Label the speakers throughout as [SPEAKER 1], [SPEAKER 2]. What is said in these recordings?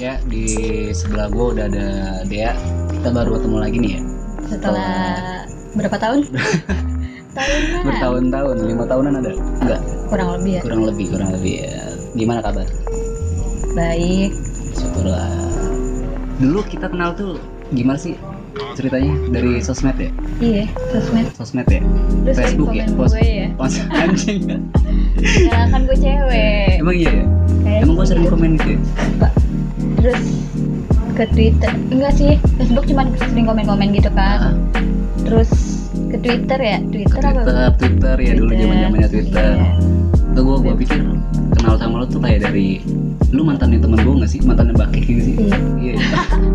[SPEAKER 1] Ya, di sebelah gue udah ada Dea. Kita baru ketemu lagi nih ya.
[SPEAKER 2] Setelah berapa tahun? Tahunan.
[SPEAKER 1] Bertahun-tahun, lima tahunan ada? Enggak,
[SPEAKER 2] Kurang lebih ya.
[SPEAKER 1] kurang lebih, kurang lebih ya. Gimana kabar?
[SPEAKER 2] Baik.
[SPEAKER 1] Syukurlah. Dulu kita kenal tuh gimana sih ceritanya dari sosmed ya?
[SPEAKER 2] Iya, sosmed.
[SPEAKER 1] Sosmed ya?
[SPEAKER 2] Terus
[SPEAKER 1] Facebook ya?
[SPEAKER 2] komen
[SPEAKER 1] Pos-
[SPEAKER 2] gue ya.
[SPEAKER 1] Pos anjing.
[SPEAKER 2] Nah, kan gue cewek.
[SPEAKER 1] Iya. Emang iya ya?
[SPEAKER 2] Kayaknya
[SPEAKER 1] Emang gue sering
[SPEAKER 2] gitu.
[SPEAKER 1] komen gitu ya?
[SPEAKER 2] Terus ke Twitter. Enggak sih, Facebook cuman sering komen-komen gitu
[SPEAKER 1] Ah,
[SPEAKER 2] kan. Terus ke Twitter ya, Twitter, apa?
[SPEAKER 1] Twitter, Twitter ya dulu zaman zamannya Twitter.
[SPEAKER 2] Iya.
[SPEAKER 1] Tuh gue gue pikir kenal sama lo tuh kayak dari lu mantannya temen gue gak sih mantannya bakik gitu sih
[SPEAKER 2] Iya.
[SPEAKER 1] iya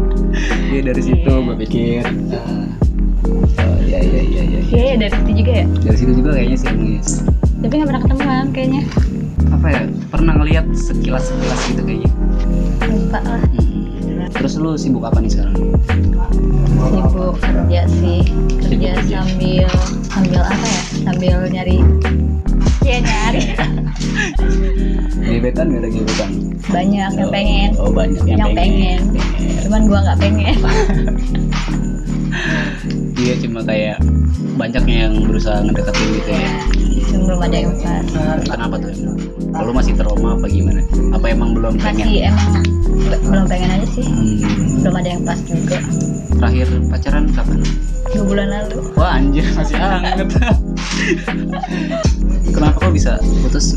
[SPEAKER 1] iya dari situ
[SPEAKER 2] Iya.
[SPEAKER 1] gue pikir ah, oh iya iya iya iya
[SPEAKER 2] Iya, iya, dari situ juga ya.
[SPEAKER 1] dari situ juga kayaknya sih Miss.
[SPEAKER 2] Tapi nggak pernah ketemuan kayaknya.
[SPEAKER 1] apa ya pernah ngeliat sekilas sekilas gitu kayaknya
[SPEAKER 2] Lupa lah.
[SPEAKER 1] Hmm. terus lu sibuk apa nih sekarang
[SPEAKER 2] sibuk kerja sih kerja
[SPEAKER 1] Sibuk kerja.
[SPEAKER 2] sambil sambil apa ya sambil nyari ya nyari
[SPEAKER 1] gebetan gak ada gebetan
[SPEAKER 2] banyak yang
[SPEAKER 1] Oh,
[SPEAKER 2] pengen
[SPEAKER 1] oh banyak yang,
[SPEAKER 2] Yang pengen.
[SPEAKER 1] pengen.
[SPEAKER 2] cuman gua nggak pengen
[SPEAKER 1] iya cuma kayak banyak yang berusaha ngedeketin gitu ya
[SPEAKER 2] Iya. Cuman belum ada yang pas
[SPEAKER 1] Kenapa Kan tuh? Kalau masih trauma apa gimana? Apa emang belum pengen?
[SPEAKER 2] masih emang be- belum pengen aja sih
[SPEAKER 1] Hmm,
[SPEAKER 2] belum ada yang pas juga
[SPEAKER 1] terakhir pacaran kapan?
[SPEAKER 2] dua bulan lalu
[SPEAKER 1] Wah anjir masih hangat. Kenapa kok bisa putus?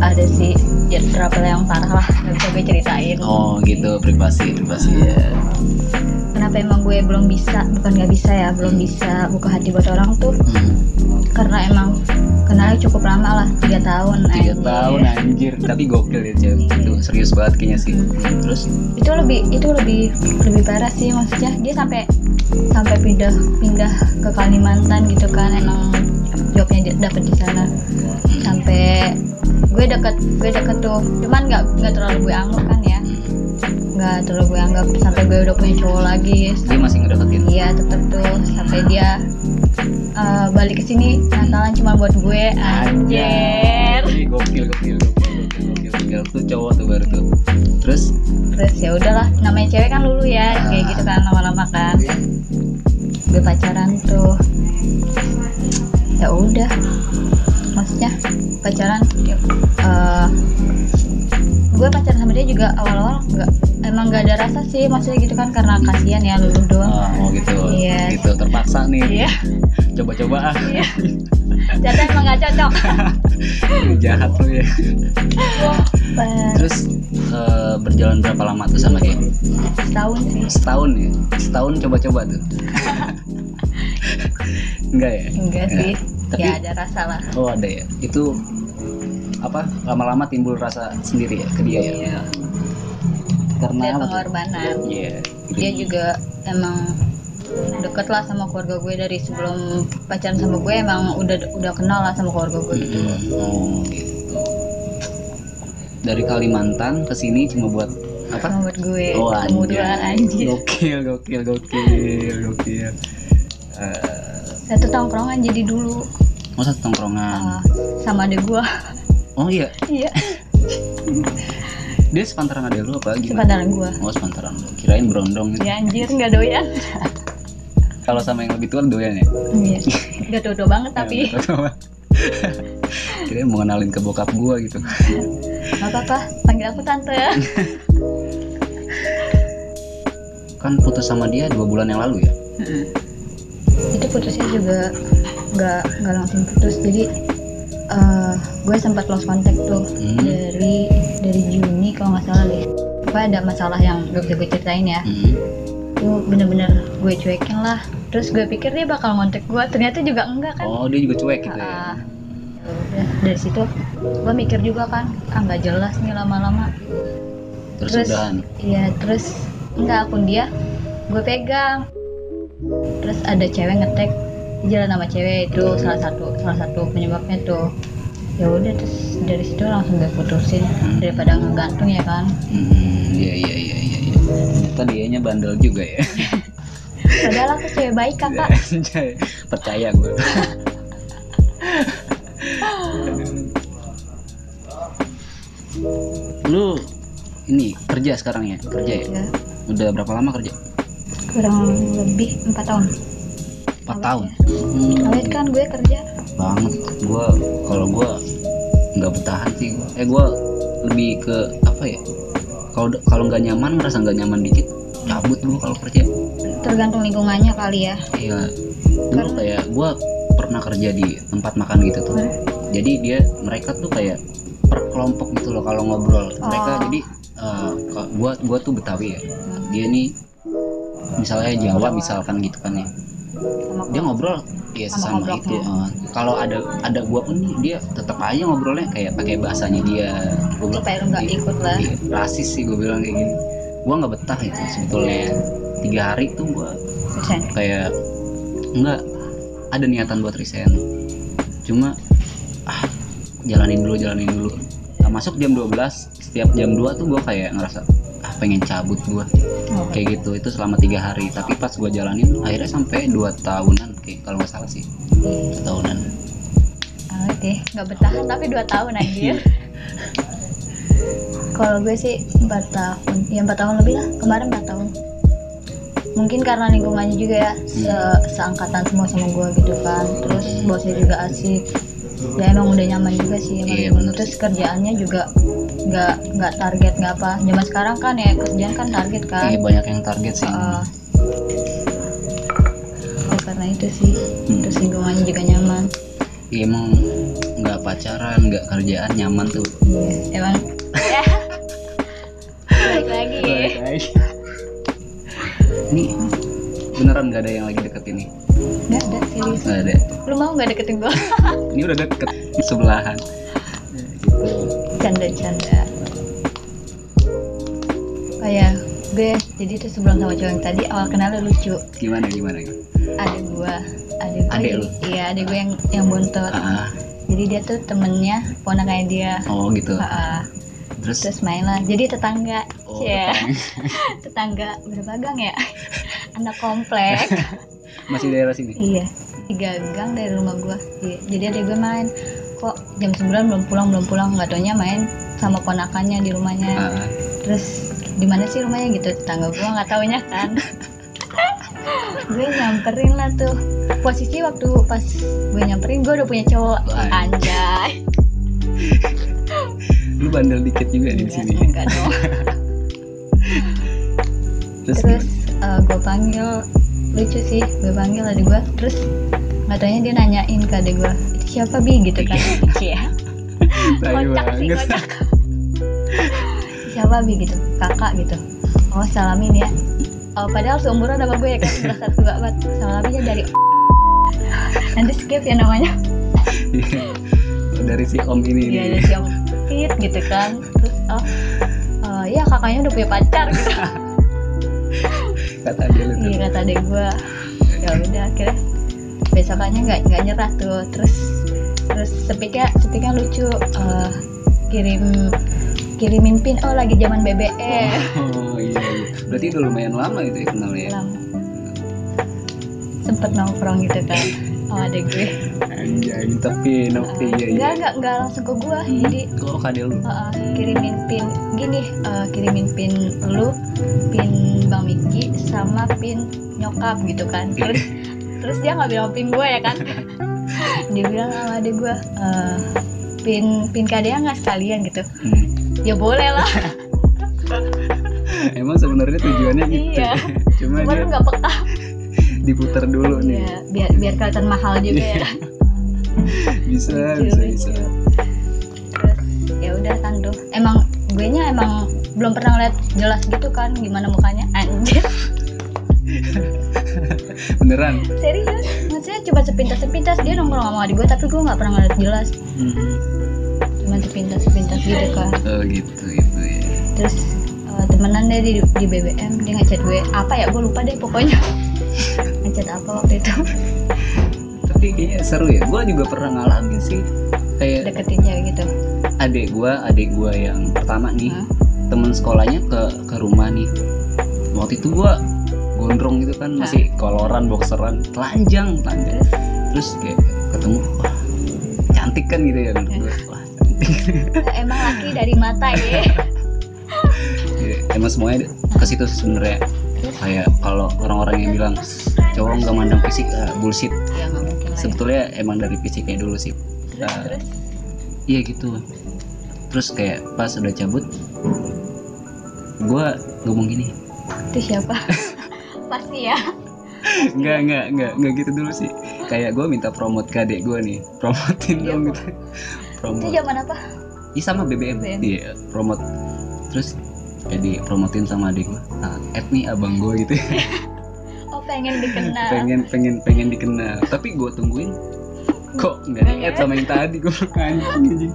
[SPEAKER 2] ada sih ya trouble yang parah lah nggak bisa gue ceritain
[SPEAKER 1] Oh gitu privasi privasi ya.
[SPEAKER 2] kenapa emang gue belum bisa bukan nggak bisa ya belum bisa buka hati buat orang tuh
[SPEAKER 1] Hmm,
[SPEAKER 2] karena emang kenalnya cukup lama lah tiga tahun Iya.
[SPEAKER 1] tiga
[SPEAKER 2] anjir.
[SPEAKER 1] tahun anjir tapi gokil ya cewek itu serius banget kayaknya sih. Terus
[SPEAKER 2] itu lebih itu lebih lebih parah sih maksudnya dia sampai sampai pindah pindah ke Kalimantan gitu kan emang jobnya dia dapet di sana sampai gue deket gue deket tuh cuman nggak nggak terlalu gue anggap kan ya nggak terlalu gue anggap sampai gue udah punya cowok lagi
[SPEAKER 1] dia masih ngedeketin.
[SPEAKER 2] iya tetep tuh sampai dia eh, balik ke sini Natalan cuma buat gue anjir
[SPEAKER 1] Ih, Gokil gokil gokil gokil gokil gokil tuh cowok tuh baru tuh. Terus
[SPEAKER 2] terus ya udahlah namanya cewek kan lulu ya kayak gitu kan lama-lama kan gue pacaran tuh ya udah maksudnya pacaran ya, eh, gue pacaran sama dia juga awal-awal nggak emang nggak ada rasa sih maksudnya gitu kan karena kasihan ya lulu doang
[SPEAKER 1] ah, oh gitu
[SPEAKER 2] Iya.
[SPEAKER 1] gitu terpaksa nih.
[SPEAKER 2] iya
[SPEAKER 1] Coba-coba ah.
[SPEAKER 2] iya ternyata emang nggak cocok
[SPEAKER 1] Lu jahat lu ya
[SPEAKER 2] Pas
[SPEAKER 1] terus eh, berjalan berapa lama tuh sama dia
[SPEAKER 2] setahun sih
[SPEAKER 1] setahun ya setahun coba-coba tuh enggak ya
[SPEAKER 2] enggak
[SPEAKER 1] Ya,
[SPEAKER 2] sih
[SPEAKER 1] tapi-
[SPEAKER 2] ya ada rasa lah
[SPEAKER 1] oh ada ya itu apa lama-lama timbul rasa sendiri ya ke dia ya
[SPEAKER 2] Iya.
[SPEAKER 1] karena
[SPEAKER 2] ada
[SPEAKER 1] apa tuh?
[SPEAKER 2] pengorbanan
[SPEAKER 1] Iya.
[SPEAKER 2] dia juga emang deket lah sama keluarga gue dari sebelum pacaran sama gue emang udah udah kenal lah sama keluarga gue gitu
[SPEAKER 1] Mm-mm. oh gitu dari Kalimantan ke sini cuma buat apa
[SPEAKER 2] sama buat gue
[SPEAKER 1] Oh,
[SPEAKER 2] kemudian
[SPEAKER 1] anjir.
[SPEAKER 2] anjir
[SPEAKER 1] Gokil, gokil, gokil, gokil. Eh,
[SPEAKER 2] satu tongkrongan jadi dulu
[SPEAKER 1] oh satu tongkrongan.
[SPEAKER 2] ah, sama ada gue
[SPEAKER 1] Oh iya,
[SPEAKER 2] iya
[SPEAKER 1] dia sepantaran ada lu apa gimana?
[SPEAKER 2] sepantaran gue
[SPEAKER 1] Oh sepantaran lu, kirain berondong gitu.
[SPEAKER 2] ya anjir nggak doyan
[SPEAKER 1] Kalau sama yang lebih tua lu doyan ya?
[SPEAKER 2] iya nggak dodo banget tapi
[SPEAKER 1] Ya, betul. kirain mau kenalin ke bokap gua gitu.
[SPEAKER 2] nggak apa-apa panggil aku tante
[SPEAKER 1] Kan putus sama dia dua bulan yang lalu ya?
[SPEAKER 2] itu putusnya juga nggak nggak langsung putus jadi eh, gue sempat lost contact tuh
[SPEAKER 1] Hmm.
[SPEAKER 2] dari dari Juni kalau nggak salah deh apa ada masalah yang gak bisa gue ceritain ya
[SPEAKER 1] Hmm.
[SPEAKER 2] itu bener-bener gue cuekin lah terus gue pikir dia bakal ngontek gue ternyata juga enggak kan
[SPEAKER 1] Oh dia juga cuek gitu
[SPEAKER 2] Ah,
[SPEAKER 1] ya?
[SPEAKER 2] ya udah. dari situ gue mikir juga kan ah nggak jelas nih lama-lama
[SPEAKER 1] Terus, anu.
[SPEAKER 2] terus-
[SPEAKER 1] udahan.
[SPEAKER 2] Iya terus enggak akun dia gue pegang terus ada cewek ngetek jalan sama cewek itu salah satu salah satu penyebabnya tuh ya udah terus dari situ langsung gue putusin daripada ngegantung ya kan
[SPEAKER 1] Hmm, iya iya iya iya. iya. Ternyata dianya bandel juga ya.
[SPEAKER 2] padahal aku cewek baik kan, kakak
[SPEAKER 1] Iya, Anjay, percaya gue. lu ini kerja sekarang ya kerja ya
[SPEAKER 2] Ya,
[SPEAKER 1] udah berapa lama kerja
[SPEAKER 2] kurang lebih empat tahun
[SPEAKER 1] 4
[SPEAKER 2] Awet
[SPEAKER 1] tahun
[SPEAKER 2] ya.
[SPEAKER 1] Hmm,
[SPEAKER 2] awet kan gue kerja
[SPEAKER 1] banget gua kalau gua nggak bertahan sih gua. eh gua lebih ke apa ya kalau kalau nggak nyaman ngerasa nggak nyaman dikit cabut gua kalau kerja
[SPEAKER 2] tergantung lingkungannya kali ya
[SPEAKER 1] iya dulu
[SPEAKER 2] Karena-
[SPEAKER 1] kayak gua pernah kerja di tempat makan gitu tuh jadi dia mereka tuh kayak per kelompok gitu loh kalau ngobrol mereka
[SPEAKER 2] Oh.
[SPEAKER 1] jadi eh, kalau gua gua tuh betawi ya dia nih misalnya Jawa misalkan gitu kan ya
[SPEAKER 2] sama
[SPEAKER 1] dia ngobrol ya
[SPEAKER 2] Sama
[SPEAKER 1] sama itu
[SPEAKER 2] ngobrolnya.
[SPEAKER 1] eh, kalau ada ada gua pun nih, dia tetap aja ngobrolnya kayak pakai bahasanya dia gua bilang,
[SPEAKER 2] supaya lu nggak
[SPEAKER 1] "Ih,
[SPEAKER 2] ikut lah
[SPEAKER 1] ih, rasis sih gua bilang kayak gini gua nggak betah itu sebetulnya tiga hari tuh gua
[SPEAKER 2] Resign.
[SPEAKER 1] kayak nggak ada niatan buat resign cuma ah jalanin dulu jalanin dulu Nah, masuk jam 12 setiap jam 2 tuh gua kayak ngerasa ah pengen cabut gua
[SPEAKER 2] Oh.
[SPEAKER 1] kayak gitu itu selama tiga hari tapi pas gua jalanin akhirnya sampai dua tahunan kayak kalau nggak salah sih
[SPEAKER 2] Iya.
[SPEAKER 1] dua tahunan
[SPEAKER 2] awet deh nggak bertahan tapi dua tahun anjir kalau gue sih empat tahun ya empat tahun lebih lah kemarin empat tahun mungkin karena lingkungannya juga ya
[SPEAKER 1] Iya.
[SPEAKER 2] se- seangkatan semua sama gue gitu kan terus bosnya juga asik ya emang udah nyaman juga sih emang.
[SPEAKER 1] Iya, bener.
[SPEAKER 2] terus kerjaannya juga nggak nggak target nggak apa zaman sekarang kan ya kerjaan kan target kan
[SPEAKER 1] kayak Iya, banyak yang target sih
[SPEAKER 2] Heeh. ya, karena itu sih terus lingkungannya juga nyaman
[SPEAKER 1] Iya, emang nggak pacaran nggak kerjaan nyaman tuh
[SPEAKER 2] Iya, emang ya balik
[SPEAKER 1] Balik
[SPEAKER 2] lagi
[SPEAKER 1] lagi. Iya.
[SPEAKER 2] Iya.
[SPEAKER 1] ini beneran nggak ada yang lagi deket ini
[SPEAKER 2] nggak ada serius
[SPEAKER 1] nggak ada
[SPEAKER 2] lu mau nggak deketin gue
[SPEAKER 1] ini udah deket sebelahan gitu.
[SPEAKER 2] canda canda oh ya gue jadi tuh sebelum sama cowok yang tadi awal kenal lu lucu
[SPEAKER 1] gimana gimana
[SPEAKER 2] ada gue ada gue
[SPEAKER 1] Adek lu?
[SPEAKER 2] iya ada gue yang yang bontot
[SPEAKER 1] ah
[SPEAKER 2] jadi dia tuh temennya ponakannya dia
[SPEAKER 1] oh gitu
[SPEAKER 2] Heeh.
[SPEAKER 1] terus
[SPEAKER 2] terus Iya. main lah jadi tetangga
[SPEAKER 1] oh,
[SPEAKER 2] Cie.
[SPEAKER 1] depan.
[SPEAKER 2] tetangga berapa gang ya anak komplek
[SPEAKER 1] masih daerah sini
[SPEAKER 2] Iya, tiga gang dari rumah gua. Iya, Jadi ada gue main. Kok jam 9 belum pulang belum pulang nggak taunya main sama ponakannya di rumahnya.
[SPEAKER 1] Ah,
[SPEAKER 2] Terus di mana sih rumahnya gitu tetangga gua nggak taunya kan. gue nyamperin lah tuh posisi waktu pas gue nyamperin gue udah punya cowok
[SPEAKER 1] Wah.
[SPEAKER 2] anjay
[SPEAKER 1] lu bandel dikit juga di
[SPEAKER 2] Iya,
[SPEAKER 1] sini
[SPEAKER 2] enggak dong.
[SPEAKER 1] terus,
[SPEAKER 2] terus gue panggil lucu sih gue panggil adik gue terus katanya dia nanyain ke adik gue itu siapa bi gitu kan Iya.
[SPEAKER 1] Tai
[SPEAKER 2] kocak sih
[SPEAKER 1] banget.
[SPEAKER 2] kocak siapa bi gitu kakak gitu oh salamin ya oh, padahal seumuran sama gue ya kan udah satu gak banget salaminnya dari nanti skip ya namanya
[SPEAKER 1] Iya. dari si om ini
[SPEAKER 2] dia ada
[SPEAKER 1] nih.
[SPEAKER 2] yang fit gitu kan terus oh eh, ya kakaknya udah punya pacar gitu
[SPEAKER 1] kata dia lu tuh.
[SPEAKER 2] iya kata adek gue ya udah akhirnya besokannya nggak nggak nyerah tuh terus terus sepiknya sepiknya lucu eh, kirim kirimin pin oh lagi zaman BBM
[SPEAKER 1] oh iya iya berarti udah lumayan lama itu ya kenal ya
[SPEAKER 2] lama sempet nongkrong gitu kan sama adek gue Eh,
[SPEAKER 1] anjay tapi nopi iya iya
[SPEAKER 2] nggak nggak nggak langsung ke gue
[SPEAKER 1] Hmm.
[SPEAKER 2] jadi
[SPEAKER 1] oh kade lu
[SPEAKER 2] uh, kirimin pin gini uh, kirimin pin lu pin bang Miki sama pin nyokap gitu kan terus terus dia nggak bilang pin gue ya kan dia bilang sama adek gue "Eh, pin pin kadea nggak sekalian gitu
[SPEAKER 1] Hmm.
[SPEAKER 2] ya boleh lah
[SPEAKER 1] emang sebenarnya tujuannya gitu
[SPEAKER 2] Iya.
[SPEAKER 1] cuma
[SPEAKER 2] cuma
[SPEAKER 1] dia
[SPEAKER 2] lu nggak peka
[SPEAKER 1] diputar dulu nih
[SPEAKER 2] ya biar biar kelihatan mahal juga ya
[SPEAKER 1] Iya. bisa
[SPEAKER 2] Iya, Lucu,
[SPEAKER 1] bisa
[SPEAKER 2] lucu.
[SPEAKER 1] bisa
[SPEAKER 2] terus ya udah kan tuh emang gue nya emang belum pernah ngeliat jelas gitu kan gimana mukanya anjir
[SPEAKER 1] beneran
[SPEAKER 2] serius maksudnya cuma sepintas sepintas dia nongkrong sama adik gue tapi gue nggak pernah ngeliat jelas
[SPEAKER 1] Hmm.
[SPEAKER 2] cuma sepintas sepintas gitu kan
[SPEAKER 1] oh gitu itu ya
[SPEAKER 2] terus eh, temenan deh di, di BBM dia ngechat gue apa ya gue lupa deh pokoknya ngechat apa waktu itu
[SPEAKER 1] tapi kayaknya seru ya gue juga pernah ngalamin sih kayak
[SPEAKER 2] deketin cewek gitu
[SPEAKER 1] adik gue adik gue yang pertama nih
[SPEAKER 2] Hah?
[SPEAKER 1] temen sekolahnya ke ke rumah nih waktu itu gue gondrong gitu kan masih koloran boxeran telanjang telanjang
[SPEAKER 2] terus
[SPEAKER 1] terus kayak ketemu wah cantik kan gitu ya menurut gue wah cantik
[SPEAKER 2] eh, emang laki dari mata ya
[SPEAKER 1] deh emang semuanya ke situ sebenarnya kayak kalau orang-orang yang bilang cowok nggak mandang fisik ah, bullshit
[SPEAKER 2] ya nggak mungkin lah ya.
[SPEAKER 1] sebetulnya emang dari fisiknya dulu sih
[SPEAKER 2] terus
[SPEAKER 1] Ah,
[SPEAKER 2] terus
[SPEAKER 1] iya gitu terus kayak pas udah cabut gua ngomong gini
[SPEAKER 2] itu siapa pasti ya
[SPEAKER 1] nggak nggak nggak nggak gitu dulu sih kayak gua minta promote ke adek gua nih promotin dong gitu
[SPEAKER 2] itu
[SPEAKER 1] promote
[SPEAKER 2] zaman apa
[SPEAKER 1] Iya sama BBM
[SPEAKER 2] BBM.
[SPEAKER 1] iya promote terus jadi promotin sama adik gua nah add nih abang gua gitu
[SPEAKER 2] oh pengen dikenal
[SPEAKER 1] pengen pengen pengen dikenal tapi gue tungguin kok nggak di add sama yang tadi gue anjing anjing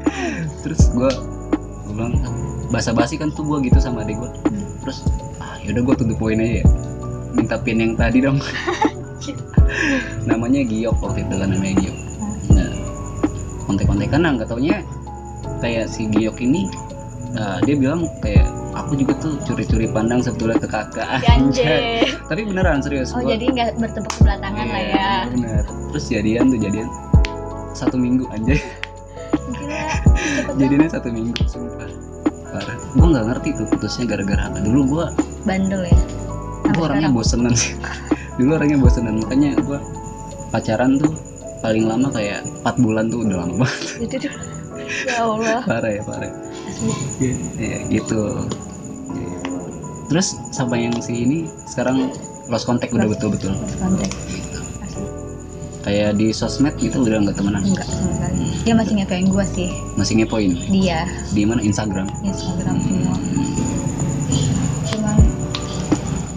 [SPEAKER 1] terus gue gue bilang basa basi kan tuh gue gitu sama adik gue terus ah, yaudah gue tutup poin aja ya. minta pin yang tadi dong namanya Giok waktu itu kan namanya Giok nah kontek-kontekan lah nggak taunya kayak si Giok ini nah, dia bilang kayak aku juga tuh curi-curi pandang sebetulnya ke kakak Anjay.
[SPEAKER 2] ganje
[SPEAKER 1] tapi beneran serius
[SPEAKER 2] oh
[SPEAKER 1] gua-
[SPEAKER 2] jadi nggak bertepuk sebelah tangan lah
[SPEAKER 1] Iya,
[SPEAKER 2] ya
[SPEAKER 1] benar. Terus jadian tuh jadian satu minggu anjay
[SPEAKER 2] gila cepet banget
[SPEAKER 1] jadinya satu minggu sumpah parah gue nggak ngerti tuh putusnya gara-gara apa dulu gue
[SPEAKER 2] bandel ya
[SPEAKER 1] gue orangnya bosenan sih dulu orangnya bosenan makanya gue pacaran tuh paling lama kayak 4 bulan tuh udah lama banget
[SPEAKER 2] itu tuh ya Allah
[SPEAKER 1] parah ya parah
[SPEAKER 2] asli
[SPEAKER 1] ya gitu terus sama yang si ini sekarang lost contact udah betul-betul
[SPEAKER 2] terus kontak asli Ah,
[SPEAKER 1] kayak di sosmed gitu udah nggak temenan
[SPEAKER 2] enggak sama sekali dia masih ngepoin gua sih
[SPEAKER 1] masih ngepoin
[SPEAKER 2] dia
[SPEAKER 1] di mana Instagram
[SPEAKER 2] Instagram semua cuman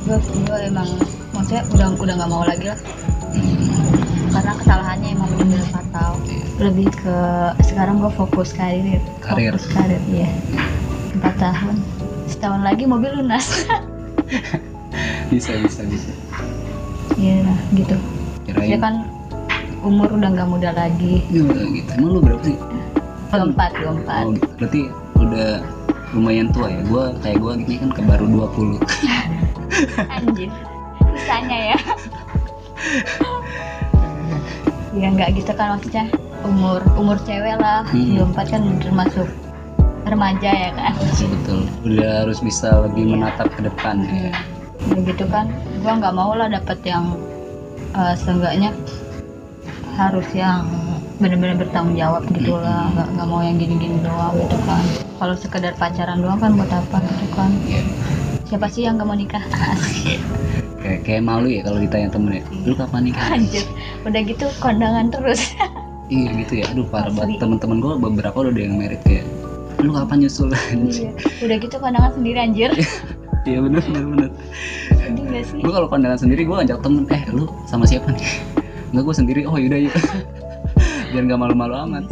[SPEAKER 2] gua gua emang maksudnya udah udah nggak mau lagi lah
[SPEAKER 1] Hmm.
[SPEAKER 2] karena kesalahannya emang bener-bener fatal lebih ke sekarang gue fokus karir
[SPEAKER 1] Karir.
[SPEAKER 2] fokus karir ya empat tahun setahun lagi mobil lunas
[SPEAKER 1] bisa bisa bisa
[SPEAKER 2] ya gitu
[SPEAKER 1] kirain
[SPEAKER 2] dia kan umur udah nggak muda lagi
[SPEAKER 1] Iya, gitu emang lu berapa sih
[SPEAKER 2] keempat keempat
[SPEAKER 1] oh, gitu. berarti udah lumayan tua ya gua kayak gua gini kan ke baru 20
[SPEAKER 2] anjir susahnya ya ya nggak gitu kan maksudnya umur umur cewek lah
[SPEAKER 1] Hmm.
[SPEAKER 2] 24 kan termasuk remaja ya kan
[SPEAKER 1] Iya, betul udah harus bisa lebih menatap ke depan ya
[SPEAKER 2] Udah gitu kan gua nggak mau lah dapet yang eh, seenggaknya harus yang bener-bener bertanggung jawab gitu lah nggak nggak mau yang gini-gini doang gitu kan kalau sekedar pacaran doang kan buat apa gitu kan
[SPEAKER 1] Iya.
[SPEAKER 2] siapa sih yang nggak mau nikah
[SPEAKER 1] kayak kayak malu ya kalau ditanya temen ya lu kapan nikah
[SPEAKER 2] anjir udah gitu kondangan terus
[SPEAKER 1] iya gitu ya aduh parah
[SPEAKER 2] Asli.
[SPEAKER 1] banget temen-temen gua beberapa udah ada yang merit kayak lu kapan nyusul
[SPEAKER 2] Iya. udah gitu kondangan sendiri anjir
[SPEAKER 1] iya bener bener bener
[SPEAKER 2] sedih nggak sih
[SPEAKER 1] gue kalau pandangan sendiri gue ajak temen eh lu sama siapa nih enggak gue sendiri oh yaudah yuk biar nggak malu-malu amat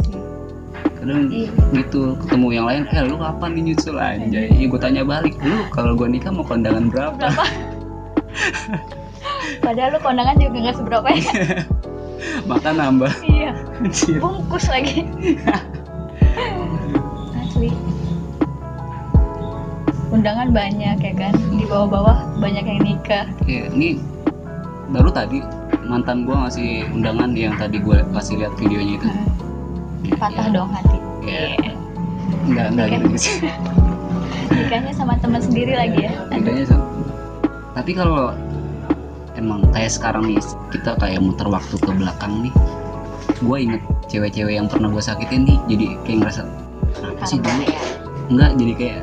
[SPEAKER 1] kadang
[SPEAKER 2] Iya.
[SPEAKER 1] gitu ketemu yang lain eh lu kapan nih nyusul anjay ya, gue tanya balik lu kalau gue nikah mau kondangan berapa
[SPEAKER 2] berapa padahal lu kondangan juga nggak seberapa ya
[SPEAKER 1] maka nambah
[SPEAKER 2] iya
[SPEAKER 1] Anjir.
[SPEAKER 2] bungkus lagi asli undangan banyak ya kan di bawah-bawah banyak yang nikah
[SPEAKER 1] Iya, ini baru tadi mantan gue ngasih undangan yang tadi gue kasih lihat videonya itu
[SPEAKER 2] Hmm, patah dong Iya. hati
[SPEAKER 1] Iya.
[SPEAKER 2] Iya.
[SPEAKER 1] nggak nggak gitu sih
[SPEAKER 2] nikahnya sama teman sendiri lagi ya
[SPEAKER 1] bedanya sama. tapi kalau emang kayak sekarang nih kita kayak muter waktu ke belakang nih gue inget cewek-cewek yang pernah gue sakitin nih jadi kayak ngerasa kenapa sih
[SPEAKER 2] karena
[SPEAKER 1] dulu
[SPEAKER 2] ya
[SPEAKER 1] enggak jadi kayak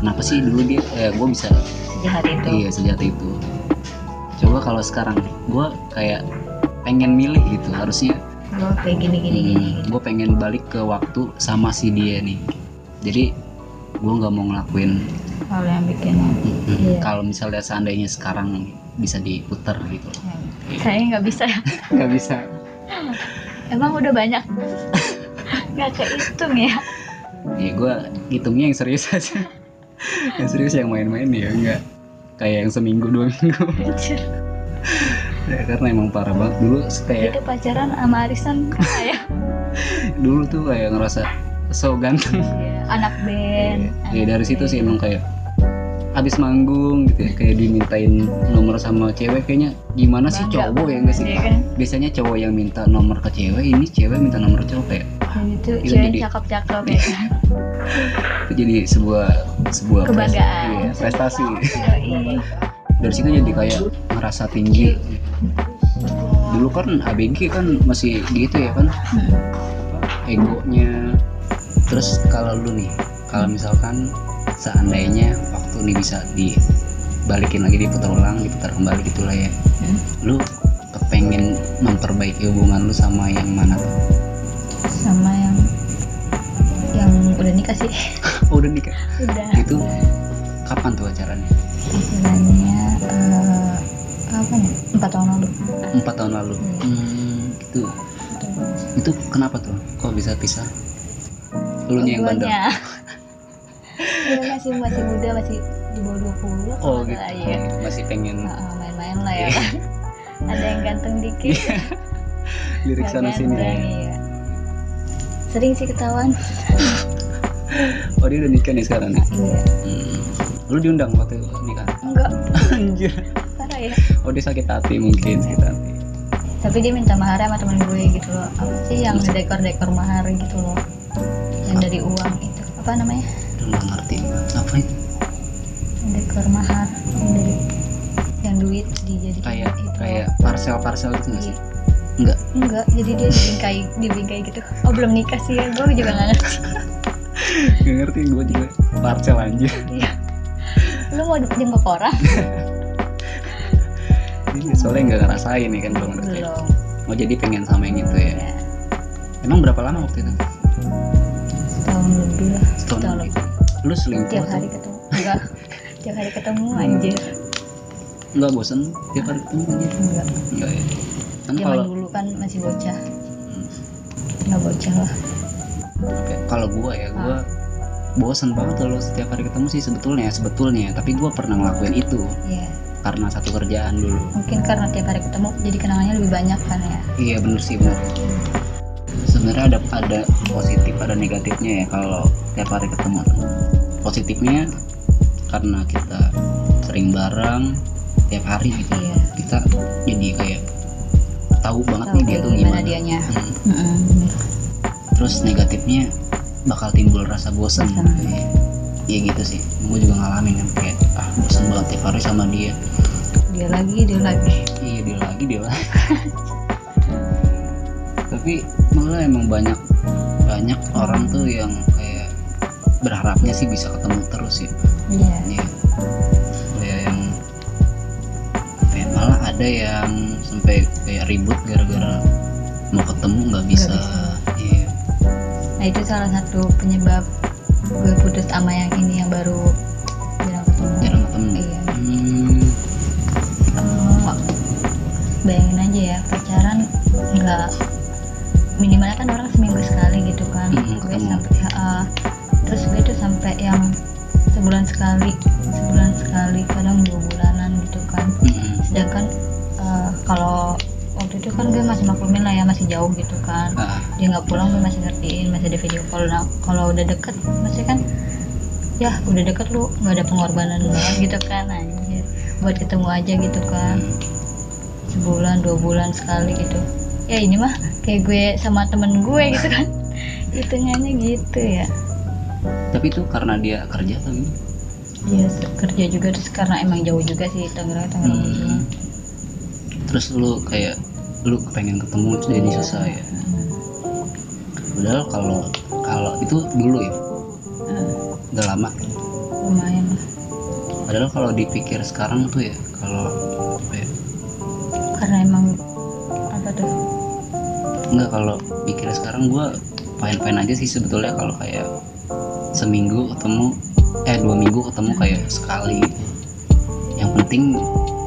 [SPEAKER 1] kenapa sih dulu dia eh, gue bisa
[SPEAKER 2] sejahat itu
[SPEAKER 1] iya sejahat itu coba kalau sekarang gue kayak pengen milih gitu harusnya
[SPEAKER 2] gue kayak gini
[SPEAKER 1] Iya,
[SPEAKER 2] gini gini
[SPEAKER 1] gue pengen balik ke waktu sama si dia nih jadi gue nggak mau ngelakuin
[SPEAKER 2] kalau yang bikin
[SPEAKER 1] Mm-mm.
[SPEAKER 2] Iya.
[SPEAKER 1] Kalau misalnya seandainya sekarang bisa diputar gitu loh.
[SPEAKER 2] kayaknya nggak bisa
[SPEAKER 1] Nggak bisa.
[SPEAKER 2] emang udah banyak nggak kehitung ya
[SPEAKER 1] Ya gue hitungnya yang serius aja. yang serius yang main-main ya enggak. Kayak yang seminggu dua minggu.
[SPEAKER 2] Anjir.
[SPEAKER 1] Ya, karena emang parah banget dulu kayak
[SPEAKER 2] itu pacaran sama arisan kayak
[SPEAKER 1] dulu tuh kayak ngerasa so
[SPEAKER 2] Iya,
[SPEAKER 1] ganteng. gitu
[SPEAKER 2] anak band
[SPEAKER 1] Ya dari
[SPEAKER 2] anak
[SPEAKER 1] situ sih
[SPEAKER 2] band.
[SPEAKER 1] emang kayak abis manggung gitu ya kayak dimintain nomor sama cewek kayaknya gimana sih
[SPEAKER 2] Bangga
[SPEAKER 1] cowok ya
[SPEAKER 2] banget
[SPEAKER 1] nggak sih
[SPEAKER 2] dia kan.
[SPEAKER 1] biasanya cowok yang minta nomor ke cewek ini cewek minta nomor cowok kayak ah,
[SPEAKER 2] dan itu
[SPEAKER 1] Itu
[SPEAKER 2] cewek
[SPEAKER 1] jadi-
[SPEAKER 2] iya, cakep-cakep ya kan
[SPEAKER 1] itu jadi sebuah sebuah pres-
[SPEAKER 2] Kebanggaan.
[SPEAKER 1] iya, prestasi
[SPEAKER 2] Yoi.
[SPEAKER 1] dari situ jadi kayak ngerasa tinggi dulu kan ABG kan masih gitu ya kan
[SPEAKER 2] Hmm.
[SPEAKER 1] egonya terus kalau lu nih kalau misalkan seandainya waktu ini bisa dibalikin lagi diputar ulang diputar kembali gitulah ya
[SPEAKER 2] Hmm.
[SPEAKER 1] lu kepengen memperbaiki hubungan lu sama yang mana tuh
[SPEAKER 2] sama yang yang udah nikah sih
[SPEAKER 1] oh, udah nikah
[SPEAKER 2] udah
[SPEAKER 1] itu kapan tuh acaranya
[SPEAKER 2] istilahnya eh, apa ya empat tahun lalu
[SPEAKER 1] empat tahun lalu hmm, itu itu kenapa tuh kok bisa pisah lu yang bandel
[SPEAKER 2] Guanya. Iya, masih masih muda masih di bawah 20
[SPEAKER 1] oh
[SPEAKER 2] kalau
[SPEAKER 1] gitu Iya.
[SPEAKER 2] nggak salah, iya.
[SPEAKER 1] masih pengen
[SPEAKER 2] Heeh, main-main lah ya kan. ada yang ganteng dikit
[SPEAKER 1] lirik sana
[SPEAKER 2] nggak
[SPEAKER 1] sini ya.
[SPEAKER 2] ganteng, iya. sering sih ketahuan
[SPEAKER 1] oh dia udah nikah nih sekarang nih
[SPEAKER 2] iya
[SPEAKER 1] Hmm. Lu diundang waktu nikah?
[SPEAKER 2] enggak
[SPEAKER 1] Anjir.
[SPEAKER 2] parah ya
[SPEAKER 1] Oh dia sakit hati mungkin sakit hati.
[SPEAKER 2] tapi dia minta mahar sama temen gue gitu loh apa sih yang dekor dekor mahar gitu loh yang dari uang itu apa namanya
[SPEAKER 1] Udah nggak ngerti gua. apa itu?
[SPEAKER 2] dekor mahar yang dari yang duit dijadikan
[SPEAKER 1] Kayak
[SPEAKER 2] itu
[SPEAKER 1] kayak parcel parcel gitu nggak sih? Enggak.
[SPEAKER 2] enggak jadi dia dibingkai dibingkai gitu oh belum nikah sih ya gue juga nggak ngerti
[SPEAKER 1] Nggak ngerti gue juga parcel anjir.
[SPEAKER 2] Iya. lu mau jenguk orang
[SPEAKER 1] Ini soalnya nggak ngerasain nih kan belum ngerti.
[SPEAKER 2] belum
[SPEAKER 1] Oh jadi pengen sama yang itu ya.
[SPEAKER 2] ya
[SPEAKER 1] Emang berapa lama waktu itu?
[SPEAKER 2] setahun lebih lah
[SPEAKER 1] Setahun
[SPEAKER 2] Setahun
[SPEAKER 1] lebih. Lu selingkuh
[SPEAKER 2] tiap
[SPEAKER 1] tuh?
[SPEAKER 2] hari ketemu enggak tiap hari ketemu anjir
[SPEAKER 1] Nggak bosen tiap hari ketemu anjir?
[SPEAKER 2] enggak
[SPEAKER 1] Nggak ya. Kan
[SPEAKER 2] zaman
[SPEAKER 1] kalau
[SPEAKER 2] dulu kan masih bocah
[SPEAKER 1] Hmm.
[SPEAKER 2] nggak bocah lah
[SPEAKER 1] Oke, kalau gua ya
[SPEAKER 2] Ah.
[SPEAKER 1] gua bosen banget kalau setiap hari ketemu sih sebetulnya sebetulnya tapi gua pernah ngelakuin itu
[SPEAKER 2] ya
[SPEAKER 1] karena satu kerjaan dulu
[SPEAKER 2] mungkin karena tiap hari ketemu jadi kenangannya lebih banyak kan ya
[SPEAKER 1] iya bener sih bener sebenarnya ada ada positif ada negatifnya ya kalau tiap hari ketemu positifnya karena kita sering bareng tiap hari gitu
[SPEAKER 2] Iya.
[SPEAKER 1] kita jadi kayak tahu banget
[SPEAKER 2] tahu
[SPEAKER 1] nih dia
[SPEAKER 2] kayak
[SPEAKER 1] tuh
[SPEAKER 2] gimana
[SPEAKER 1] gimana,
[SPEAKER 2] dianya
[SPEAKER 1] Hmm.
[SPEAKER 2] Mm-mm.
[SPEAKER 1] terus negatifnya bakal timbul rasa bosan
[SPEAKER 2] Bosan.
[SPEAKER 1] Iya. ya gitu sih gue juga ngalamin kan kayak ah bosan banget tiap hari sama dia
[SPEAKER 2] dia lagi dia lagi
[SPEAKER 1] iya dia lagi dia lagi tapi malah emang banyak banyak orang tuh yang kayak berharapnya sih bisa ketemu terus ya
[SPEAKER 2] iya
[SPEAKER 1] Iya. Kayak yang kayak malah ada yang sampai kayak ribut gara-gara mau ketemu nggak bisa,
[SPEAKER 2] Nggak bisa.
[SPEAKER 1] Iya.
[SPEAKER 2] nah itu salah satu penyebab gue putus sama yang ini yang baru jarang ketemu
[SPEAKER 1] jarang ketemu
[SPEAKER 2] Iya.
[SPEAKER 1] Hmm.
[SPEAKER 2] Eh, bayangin aja ya pacaran nggak minimalnya kan orang seminggu sekali gitu kan
[SPEAKER 1] Mm-mm,
[SPEAKER 2] gue
[SPEAKER 1] ketemu.
[SPEAKER 2] sampai eh, terus gue tuh sampai yang sebulan sekali sebulan sekali kadang dua bulanan gitu kan
[SPEAKER 1] Mm-mm.
[SPEAKER 2] sedangkan eh, kalau waktu itu kan gue masih maklumin lah ya masih jauh gitu kan
[SPEAKER 1] Ah,
[SPEAKER 2] dia nggak pulang gue masih ngertiin masih ada video call nah, kalau udah deket maksudnya kan ya udah deket lu nggak ada pengorbanan banget gitu kan anjir buat ketemu aja gitu kan
[SPEAKER 1] hmm.
[SPEAKER 2] sebulan dua bulan sekali gitu ya ini mah kayak gue sama temen gue gitu kan hitungannya gitu ya
[SPEAKER 1] Tapi itu karena dia kerja atau gimana?
[SPEAKER 2] dia Iya, kerja juga terus karena emang jauh juga sih Tangerang Tangerang gitu.
[SPEAKER 1] Hmm. Terus lu kayak lu pengen ketemu terus jadi susah ya. Padahal kalau kalau itu dulu ya,
[SPEAKER 2] Eh,
[SPEAKER 1] udah lama.
[SPEAKER 2] lumayan lah
[SPEAKER 1] Padahal kalau dipikir sekarang tuh ya, kalau apa ya,
[SPEAKER 2] karena emang apa tuh
[SPEAKER 1] enggak kalau pikir sekarang gua fine-fine aja sih sebetulnya kalau kayak seminggu ketemu eh dua minggu ketemu kayak sekali yang penting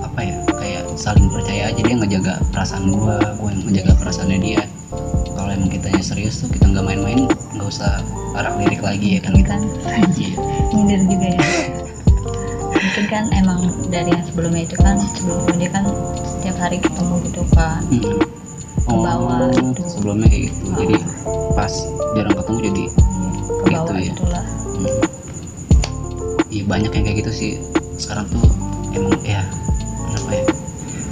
[SPEAKER 1] apa ya kayak saling percaya aja dia ngejaga perasaan gua gua yang ngejaga perasaannya dia kalau emang kitanya serius tuh kita nggak main-main nggak usah arak lirik lagi ya kan gitu
[SPEAKER 2] kan
[SPEAKER 1] Iya.
[SPEAKER 2] nyindir juga ya mungkin kan emang dari yang sebelumnya itu kan sebelumnya dia kan setiap hari ketemu gitu kan
[SPEAKER 1] Mm.
[SPEAKER 2] Ke bawah gitu.
[SPEAKER 1] Oh, sebelumnya kayak gitu jadi pas jarang ketemu jadi
[SPEAKER 2] ke bawah
[SPEAKER 1] Gitu ya.
[SPEAKER 2] itulah
[SPEAKER 1] Hmm. Iya banyak yang kayak gitu sih sekarang tuh emang ya kenapa ya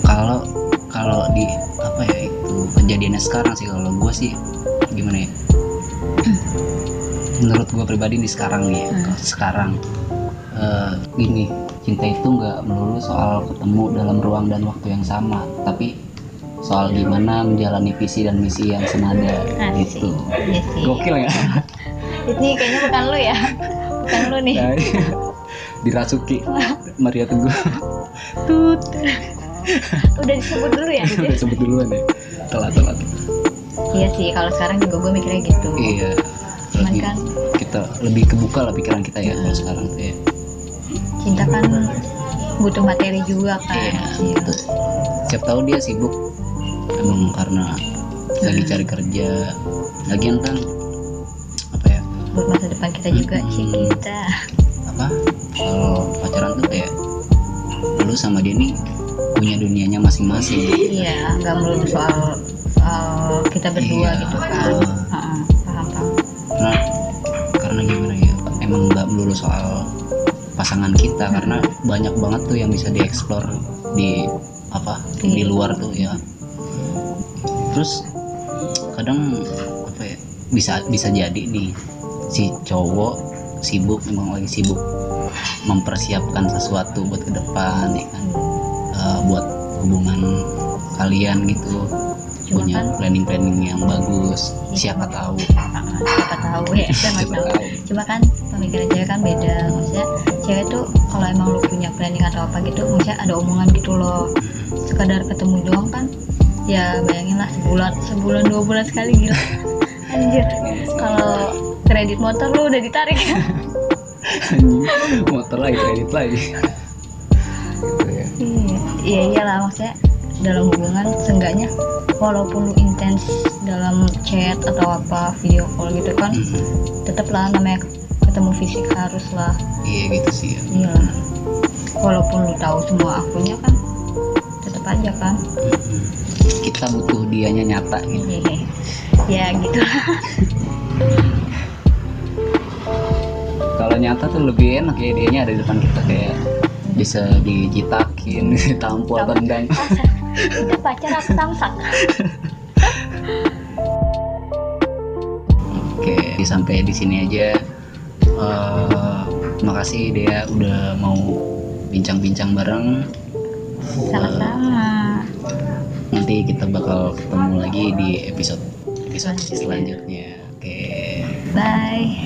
[SPEAKER 1] kalau kalau di apa ya itu kejadiannya sekarang sih kalau gue sih gimana ya menurut gue pribadi nih sekarang nih ya,
[SPEAKER 2] Hmm.
[SPEAKER 1] kalau sekarang eh, gini cinta itu nggak melulu soal ketemu dalam ruang dan waktu yang sama tapi soal gimana menjalani visi dan misi yang senada
[SPEAKER 2] Asik.
[SPEAKER 1] gitu
[SPEAKER 2] Iya sih.
[SPEAKER 1] gokil ya
[SPEAKER 2] Ini kayaknya bukan lu ya. Bukan lu nih.
[SPEAKER 1] Nah, dirasuki Maria Teguh
[SPEAKER 2] Oh,
[SPEAKER 1] tut
[SPEAKER 2] Udah disebut dulu ya. Dit?
[SPEAKER 1] udah sebut duluan ya telat telat
[SPEAKER 2] Iya sih, kalau sekarang juga gue mikirnya gitu.
[SPEAKER 1] iya
[SPEAKER 2] Cuman
[SPEAKER 1] lebih
[SPEAKER 2] kan
[SPEAKER 1] kita lebih kebuka lah pikiran kita ya kalau sekarang tuh ya
[SPEAKER 2] cinta kan butuh materi juga kan.
[SPEAKER 1] Iya,
[SPEAKER 2] Iya.
[SPEAKER 1] betul. siap tahu dia sibuk emang karena lagi cari kerja lagi tentang apa ya
[SPEAKER 2] Buat masa depan kita juga
[SPEAKER 1] Hmm.
[SPEAKER 2] sih kita.
[SPEAKER 1] apa kalau pacaran tuh kayak lu sama dia nih punya dunianya masing-masing
[SPEAKER 2] Iya, nggak melulu soal soal kita berdua
[SPEAKER 1] Iya.
[SPEAKER 2] gitu kan. Heeh, paham paham. Iya.
[SPEAKER 1] karena karena gimana ya emang nggak melulu soal pasangan kita karena banyak banget tuh yang bisa dieksplor di apa di
[SPEAKER 2] Iya.
[SPEAKER 1] luar tuh ya terus kadang apa ya bisa bisa jadi nih si cowok sibuk memang lagi sibuk mempersiapkan sesuatu buat ke depan ya kan Eh, buat hubungan kalian gitu
[SPEAKER 2] Cuma
[SPEAKER 1] punya
[SPEAKER 2] kan-
[SPEAKER 1] planning planning yang bagus
[SPEAKER 2] Iya.
[SPEAKER 1] siapa tahu
[SPEAKER 2] Heeh, Siapa tahu ya, siapa
[SPEAKER 1] siapa
[SPEAKER 2] tahu.
[SPEAKER 1] tahu
[SPEAKER 2] Cuma kan pemikiran cewek kan beda. Maksudnya cewek tuh kalau emang lu punya planning atau apa gitu, maksudnya ada omongan gitu loh. Sekadar ketemu doang kan, ya bayangin lah sebulan, sebulan dua bulan sekali gila. Anjir, kalau kredit motor lu udah ditarik.
[SPEAKER 1] anjing motor lagi kredit lagi gitu ya
[SPEAKER 2] Iya, iya iyalah maksudnya dalam hubungan seenggaknya walaupun lu intens dalam chat atau apa video call gitu kan
[SPEAKER 1] Mhm.
[SPEAKER 2] tetep lah namanya ketemu fisik harus lah
[SPEAKER 1] iya gitu sih ya
[SPEAKER 2] iya lah. walaupun lu tahu semua akunya kan tetep aja kan
[SPEAKER 1] Mhm. kita butuh dianya nyata gitu
[SPEAKER 2] Hehehe. ya gitu lah
[SPEAKER 1] kalau nyata tuh lebih enak ya dianya ada di depan kita kayak bisa dijitakin ditampol
[SPEAKER 2] Tampol.
[SPEAKER 1] tendang
[SPEAKER 2] itu pacar aku samsak
[SPEAKER 1] oke sampai di sini aja Eh, makasih dia udah mau bincang-bincang bareng
[SPEAKER 2] sama-sama
[SPEAKER 1] nanti kita bakal ketemu lagi di episode episode selanjutnya oke
[SPEAKER 2] bye